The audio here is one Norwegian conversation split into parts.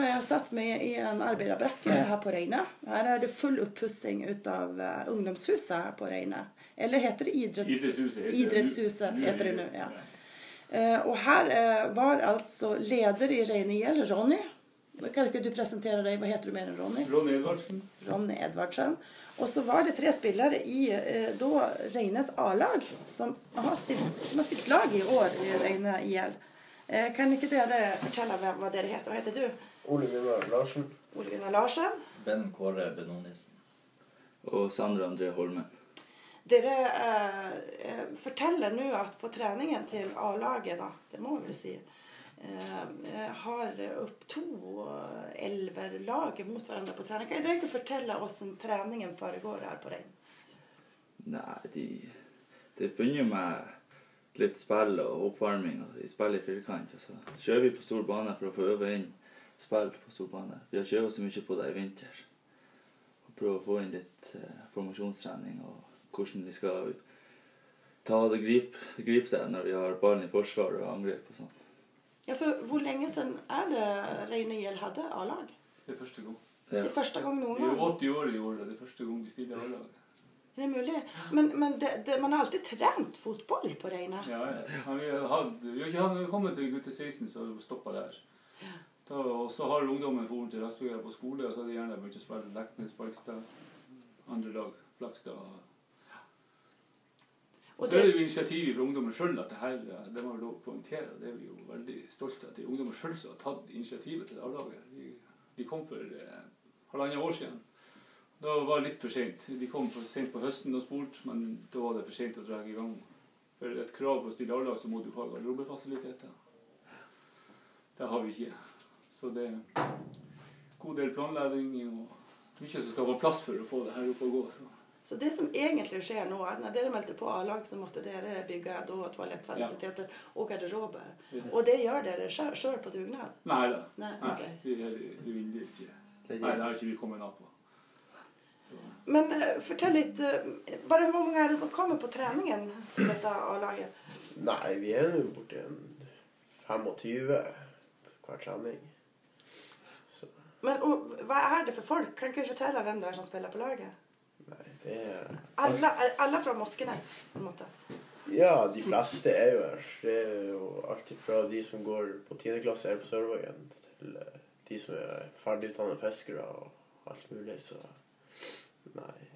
Jeg satt meg i en arbeiderbrakke her på Reine. Her er det full oppussing ut av eh, ungdomshuset her på Reine. Eller heter det idretts... Idrettshuset heter det. Idrettshuset Nu- nu heter det är nå. det- Ja. ja. Eh, Og her eh, var altså leder i Reine IL, Ronny. Kan ikke du presentere deg? Hva heter du mer enn Ronny? Ronny Edvardsen. Ronny Edvardsen. Og så var det tre spillere i eh, da Reines A-lag som har stilt, de har stilt lag i år i Reine IL. Eh, kan ikke dere fortelle hvem- hva dere heter? Hva heter du? Ole Gunnar Larsen. Ole Gunnar Larsen. Ben Kåre Benonisen. Og Sander André Holmen. Dere eh, eh, forteller nå at på treningen til A-laget, da, det må vi si, eh, eh, har opp to eh, elverlag mot hverandre på trening. Kan dere ikke fortelle hvordan treningen foregår her på Rein? Nei, de, de begynner med litt spill og oppvarming. og De spiller i firkant. Og så kjører vi på stor bane for å få øve inn spill på stor bane. Vi har kjørt så mye på det i vinter. Og prøver å få inn litt eh, formasjonstrening og hvordan vi skal ta det gripe grip det når vi har ballen i forsvar og angrep og sånn. Ja, for Hvor lenge siden er det Reine IL hadde A-lag? Det er første gang. Det Ja. er første gang noen Vi er gang. 80 år i år, og det er første gang vi stiller A-lag. Er det mulig? Men, men det, det, man har alltid trent fotball på Reine. Ja, ja. Han, vi, har hatt, vi har ikke hatt- når vi kommet til gutte 16, så har vi stoppa der. Da, og så har ungdommen dratt til Vestvågøy på skole, og så har de gjerne begynt å spille Leknes, Barkstad, andre lag, Flakstad. og- Og Så er det det, jo initiativet fra ungdommen sjøl at det her, det må vi lov å poengtere. og Det er vi jo veldig stolte av. at Det er ungdommen sjøl som har tatt initiativet til det A-laget. De, de kom for eh, halvannet år siden. Da var det litt for seint. De kom for sent på høsten og spurte, men da var det for seint å dra i gang. For et krav for å stille A-lag, så må du ha garderobefasiliteter. Det har vi ikke. Så det er en god del planlegging og mye som skal få plass for å få det her opp å gå. Så. så det som egentlig skjer nå, er at når dere meldte på A-lag, så måtte dere bygge da toalettfasiliteter og garderober. Yes. Og det gjør dere sjøl på dugnad? Nei da. Nei, ok. vi, vi, vi vil ikke. Det Nei, det gir- har ikke vi kommet ned på. Så, Men eh, fortell litt eh, Bare hvor mange er det som kommer på treningen i dette A-laget? Nei, vi er nå borti en 25 hver trening. Så Men og, hva er det for folk? Kan ikke du fortelle hvem det er som spiller på laget? nei, det er Alle, alle fra Moskenes, på en måte. Ja, de fleste er jo her. Det er jo alt fra de som går på 10. klasse her på Sørvågen, til eh, de som er ferdigutdannede fiskere og alt mulig, så Nei.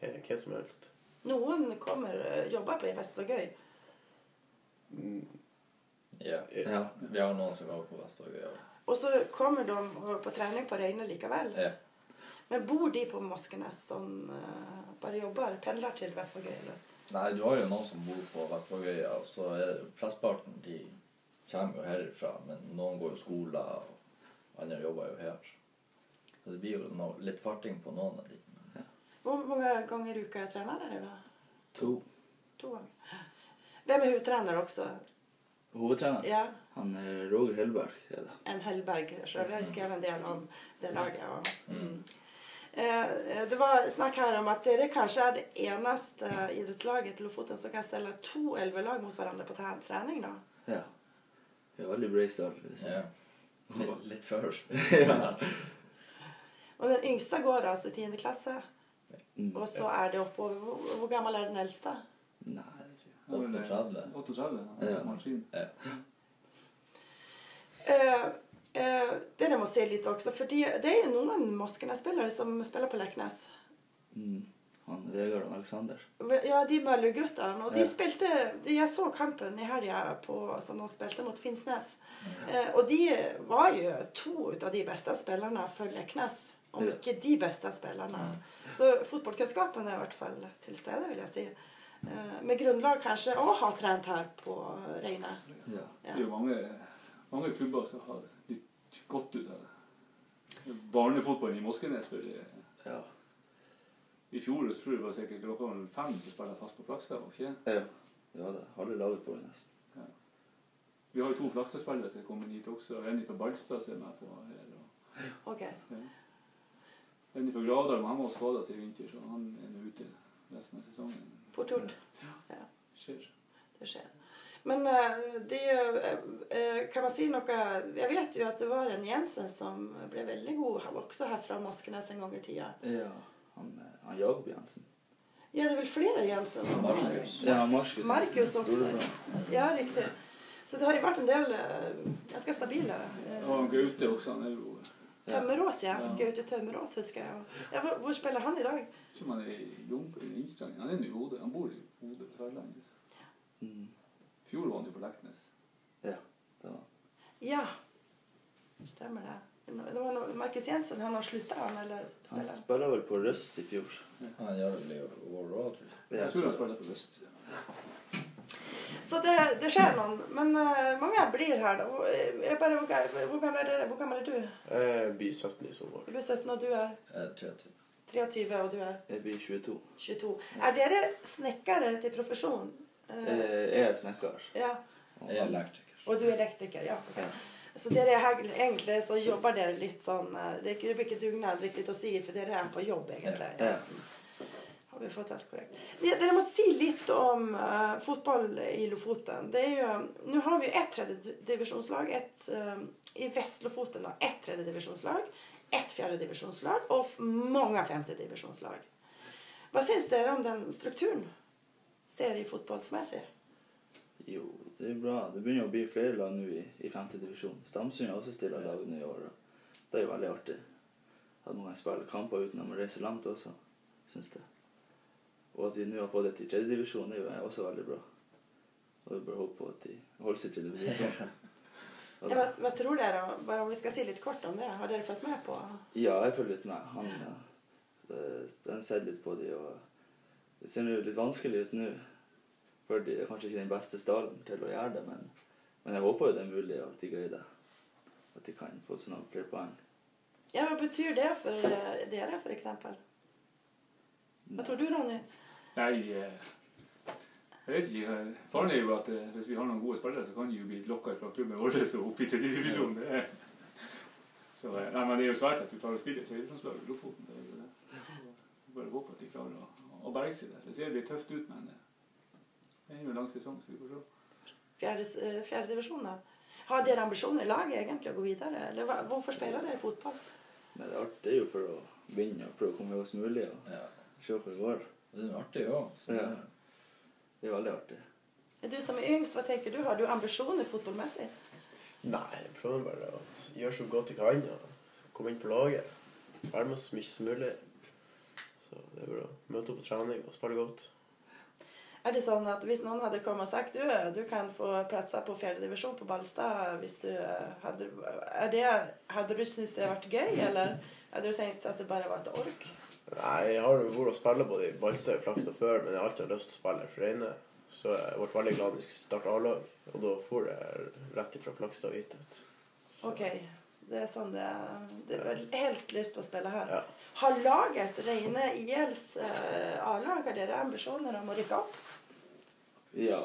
Det er hvem som helst. Noen kommer eh, jobber på i Vestvågøy. Ja. Ja. Vi har noen som går på Vestvågøy òg. Og så kommer de på trening på Reine likevel. Ja. Men bor de på Moskenes sånn eh, Bare jobber? Pendler til Vestvågøy, eller? Nei, du har jo noen som bor på Vestvågøya, og så er det flesteparten de kommer jo herifra. Men noen går jo skole, og andre jobber jo her. Så det blir jo no litt farting på noen av de. Men Hvor mange ganger i uka trener dere? da? To. To ganger. Hvem er hovedtrener også? Hovedtrener? Ja. Han er Roger Hellberg. Er det. en Hellberg. Så vi har jo skrevet en del om det laget. Og, mm. Eh, Det var snakk her om at dere kanskje er det eneste idrettslaget til Lofoten som kan stelle to elvelag mot hverandre på tre- trening. da. Ja. Vi har veldig bred start. vil jeg si. ja. Litt, litt før. Nesten. Og den yngste går altså i 10. klasse. Mm. Og så er det oppover. Hvor- Hvor gammel er den eldste? Nei, men, eh, 38. 38, Ja. Maskin. Ja. Eh, eh, dere må se litt også, for det er jo noen Moskenes-spillere som spiller på Leknes. Mm. Han Vegard og Alexander. Ja, de Møllerguttene. Og de Ja. spilte de, Jeg så kampen i helga på- som de spilte mot Finnsnes. Eh, og de var jo to ut av de beste spillerne for Leknes. Om Ja. ikke de beste Mm. spillerne. Så fotballkunnskapen er i hvert fall til stede, vil jeg si. Eh, med grunnlag kanskje å ha trent her på Reine. Ja. Det er jo mange, mange klubber som har litt godt ut av det. Barnefotballen i Moskenes for eh, Ja. i fjor så tror jeg det var sikkert noen fem som spiller fast på Flakstad. var det ikke? ja. Det var det. Halve laget får nesten. Vi har jo to Flakstad-spillere som er kommet hit også. og En fra Balstad som er med på her. og Ok. En fra Gravdal, men han var skada i vinter, så han er nå ute resten av sesongen. Fort gjort. Skjer. Det skjer. Men eh, det är ju, eh, eh, kan man säga något, jag vet ju att det var en Jensen som blev väldigt god han var också här från Moskenäs en gång i tiden. Ja, han, eh, han Jakob Jensen. Ja, det är väl flera Jensen som var här. Marcus. Ja, Marcus. Marcus Jensen, också. storebror. Ja, riktigt. Så det har ju varit en del eh, ganska stabila. eh, Og han Gaute også, han er jo Tömmerås, ja. Ja. Gaute Tömmerås huskar jag. Ja, var, var spelar han idag? Ikke om han er i Jomfru eller Innstrand. Han er nå i Bodø. Han bor i Bodø på Sørlandet. Mm, I fjor var han jo på Leknes. det var. Ja, stämmer det. Det var nog Marcus Jensen, han har slutat han eller? Han beställde han? spilla vel på Røst i fjor. Han gjør vel i War Road, tror jeg. Ja, Jeg tror han spiller på Øst. Så det, det skjer noen. Men eh, mange blir her, da. Hvor- Jeg bare, hvor, ga- hvor gammel er dere? Hvor gammel er du? Jeg blir 17 i sommer. Du er 17, og du er Jeg er 30. 23, og du er Jeg blir 22. 22. Er dere snekkere til profesjon? Eh, Eh, Jeg er snekker. ja. Jeg er elektriker. Og du er elektriker, ja. ok. Så dere er her, egentlig så jobber dere litt sånn eh, Det er ikke- det blir ikke dugnad riktig å si, for dere er på jobb, egentlig. Ja. Har vi fått helt korrekt. Ja, Dere må si litt om eh, fotball i Lofoten. Det er jo, nå har vi jo ett tredjedivisjonslag ett, eh, i Vest-Lofoten. da. Ett tredjedivisjonslag, ett fjerdedivisjonslag og f- mange femtedivisjonslag. Hva syns dere om den strukturen seriefotballsmessig? Jo, det er jo bra. Det begynner å bli flere lag nå i, i femte divisjon. Stamsund har også stilla lag nå i år. Og det er jo veldig artig. At man kan spille kamper uten å må reise langt også, syns jeg. Og at de nå har fått det til tredje divisjon, er jo også veldig bra. Og vi bør håpe på at de holder seg til tredje divisjon. Og Ja, Hva, hva tror dere? Bare om vi skal si litt kort om det. Har dere fulgt med på? Ja, jeg følger litt med. Han, eh, eh, han ser litt på de, og det ser jo litt vanskelig ut nå. For de er kanskje ikke den beste stallen til å gjøre det, men, men jeg håper jo det er mulig at de greier det. At de kan få sånne flere poeng. Ja, Hva betyr det for eh, dere, f.eks.? Hva tror du, Ronny? Nei, eh, jeg vet ikke. eh, Faren er jo at eh, hvis vi har noen gode spillere, så kan de jo bli lokka fra klubben vår og opp i tredjedivisjon. Det er- Så, eh, nei, men det er jo svært at du klarer å stille et tredjedivisjonslag i Lofoten. Det er jo det. Så Bare håpe at de klarer å, å berge seg der. Det ser litt tøft ut, men eh, det er jo en lang sesong, så vi får se. Fjerde, eh, fjerde divisjon, da. Har dere ambisjoner i laget egentlig å gå videre? Eller hva, hvorfor spiller dere fotball? Men det er artig jo for å vinne og prøve å komme høyest mulig og Ja. se hvor det går. Det er noe artig òg. Ja. Det er veldig artig. Du som er yngst, hva tenker du? Har du ambisjoner fotballmessig? Nei, jeg prøver bare å gjøre så godt jeg kan. Og komme inn på laget. Være med så mye som mulig. Så det er bra. Møte opp på trening og spille godt. Er det sånn at hvis noen hadde kommet og sagt du, du kan få platsa på fjerde divisjon på Balstad hvis du eh, hadde er det, Hadde du syntes det vært gøy, eller hadde du tenkt at det bare var et ork? Nei, jeg har jo vært og spilt både i Ballstad og Flakstad før, men jeg har alltid hatt lyst til å spille for Reine. Så jeg ble veldig glad da jeg starta A-lag, og da for jeg rett ifra Flakstad og hit ut. Så- Ok, det er sånn det Det er vel helst lyst til å spille her. Ja. Har laget Reine ILs eh, A-lag, har dere ambisjoner om å rykke opp? Ja.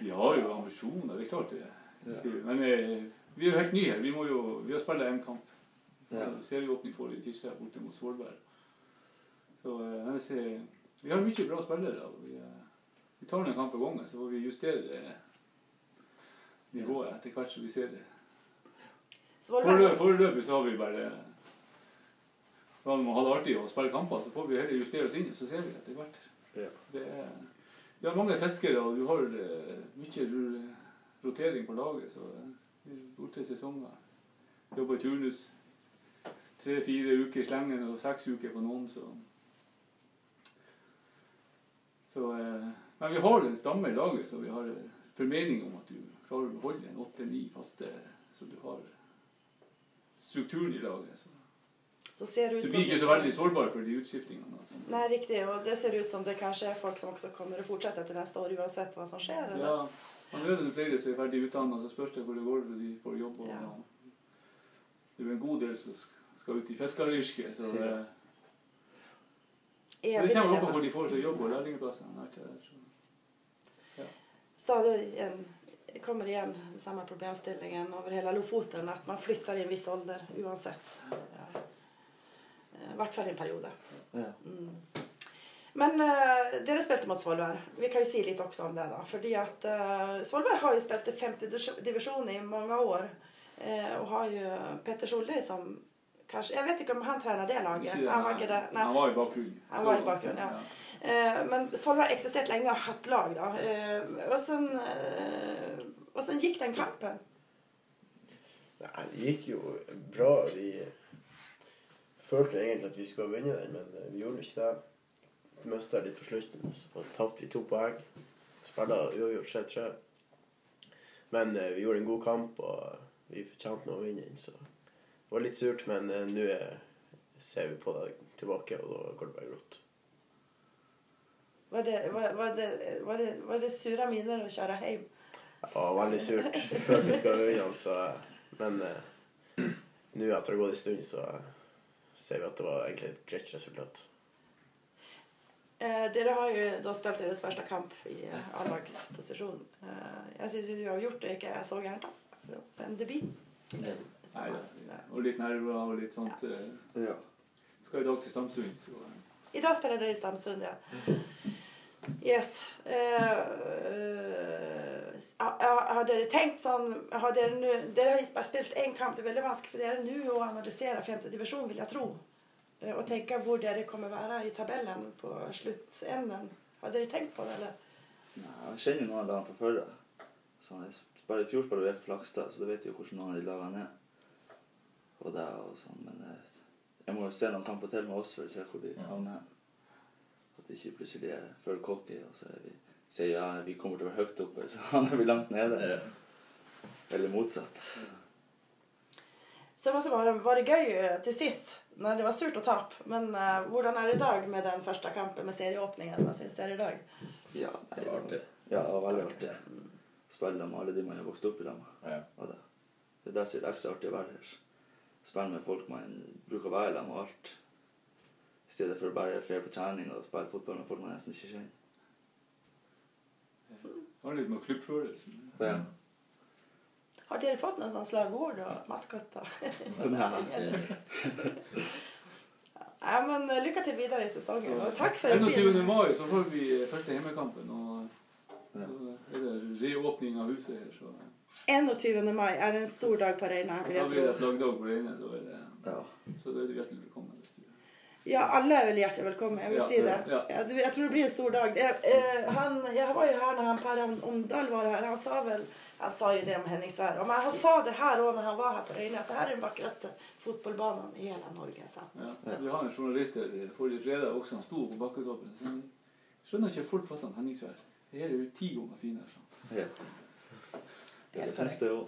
Vi har jo ambisjoner, det er klart det. Men eh, vi er jo helt nye her. Vi, må jo, vi har spilt en kamp. ja. Serieåpning får vi tirsdag borte mot Svolvær. Så eh, jeg ser, Vi har mye bra spillere. og Vi, eh, vi tar noen kamper gangen, så får vi justere eh, nivået etter hvert som vi ser det. Forelø- Svolvær, Foreløpig så har vi bare Når man har det artig å spille kamper, så får vi heller justere oss inn, så ser vi etter hvert. Ja. Det er, vi har mange fiskere, og du har eh, mye ru- rotering på laget. Så eh, vi er borte i sesonger. Jobber i turnus tre-fire uker i slengen og seks uker på noen, så Så eh, Men vi har en stamme i laget, så vi har eh, formening om at du klarer å beholde en åtte-ni faste, så du har strukturen i laget. Så, så ser det ut så som vi er ikke så veldig sånn. sårbare for de utskiftingene. Altså. sånn Nei, riktig. Og det ser ut som det kanskje er folk som også kommer å fortsette etter neste år, uansett hva som skjer. Eller? Ja, og nå er det flere som er ferdig utdannet, så spørs det hvor det går når de får jobb. Og, Ja. Det er jo en god del som sk- skal ut i fiskeryrket, så, det, så Evig det kommer an på dilemma. hvor de får seg jobb og lærlingplasser. og alt det der, så. Stadig igjen kommer igjen den samme problemstillingen over hele Lofoten, at man flytter i en viss ålder uansett. Ja. Eh, I hvert fall i en periode. ja. Mm. Men eh, dere spilte mot Svolvær. Vi kan jo si litt også om det, da. Fordi at eh, Svolvær har jo spilt i femte dis- divisjon i mange år. Eh, og har jo Petter Solli som kanskje Jeg vet ikke om han trener det laget. Ikke det, han var ikke det. Nei. Han var i bakgrunnen. Han var i Så- bakgrunnen, ja. Eh, men Svolvær har eksistert lenge og hatt lag, da. Eh, og sen, eh, og sen gikk den kampen. Nei, det gikk jo bra. Vi følte egentlig at vi skulle ha vunnet den, men eh, vi gjorde jo ikke det. Vi mista litt på slutten, så tapte vi to poeng. Spilla uavgjort 3-3. Men eh, vi gjorde en god kamp, og vi fortjente nå å vinne den, så det var litt surt. Men eh, nå eh, ser vi på det tilbake, og da går det bare godt. Var det, var, var det, var det, var det sura miner å kjøre hjem? Ja, veldig surt. Før vi skal vinne, så Men eh, nå etter det har gått en stund, så ser vi at det var egentlig et greit resultat. Eh, dere har jo da spilt deres første kamp i eh, A-lagsposisjon. Eh, jeg syns du har gjort det ikke er så gærent, da. En debut. Så, Nei, eh, ja. Og litt nerver og litt sånt. eh, Ja. Skal i dag til Stamsund, så I dag spiller dere i Stamsund, ja. Yes. Eh, eh, ha- ha- har dere tenkt sånn har dere, nu, dere har ju bara spilt en kamp. Det er veldig vanskelig for dere nå å analysere femte divisjon, vil jeg tro. Eh, og tenke hvor dere kommer være i tabellen på sluttenden. Har dere tenkt på det, eller? Nei, jeg kjenner noen av lagene fra før. da. Så jeg spiller, I fjor spilte vi for Flakstad, så da vet jeg jo hvordan noen av de lagene er. Og det og sånn, Men jeg, jeg må jo se noen kamper til med oss for å se hvor de Ja. havner. hen. At det ikke plutselig er før cocky, og så er vi, sier ja, vi kommer til å være høyt oppe, så havner vi langt nede. Ja. Eller motsatt. Så det måste vara, var det gøy eh, till sist, när det var surt att tapp. Men eh, hvordan er det i dag med den første kampen med serieåpningen? Hva syns dere i dag? Ja, nei, Det var artig. Ja, det var veldig Artig. artig. Spille med alle de man har vokst opp i lag med. Ja. Og det. det er det som er ekstra artig å være her. Spille med folk man bruker å være sammen med og alt. I stedet for å bare dra på trening og spille fotball med folk man nesten ikke kjenner. det har litt med klubbfølelsen Og ja, Har dere fått noen sånne slagord og maskotter? Ja. Ja, men eh, lykke til videre i sesongen, og takk for en fin 21. mai så får vi eh, første hjemmekampen, og Ja. så er det reåpning av huset her, så 21. mai er en stor dag på Reina, vil da jeg blir det tro. flaggdag på Reine. Da er det, ja. så da er du hjertelig velkommen. hvis du Ja, alle er vel hjertelig velkommen. Jeg vil Ja, si det. ja. Ja, det- Jeg tror det blir en stor dag. Jeg, eh, han, jeg var jo her når han Per Omdal var her. Han sa vel Han sa jo det om Henning Sverre. Men han sa det her òg når han var her på Reina, at det her er den vakreste fotballbanen i hele Norge. sa han. Ja. Vi har en journalist her eh, forrige fredag også, han sto på bakketoppen. Så han skjønner ikke folk prater om Henningsvær. Det her er jo ti ganger finere. sånn. ja. Det er det siste òg.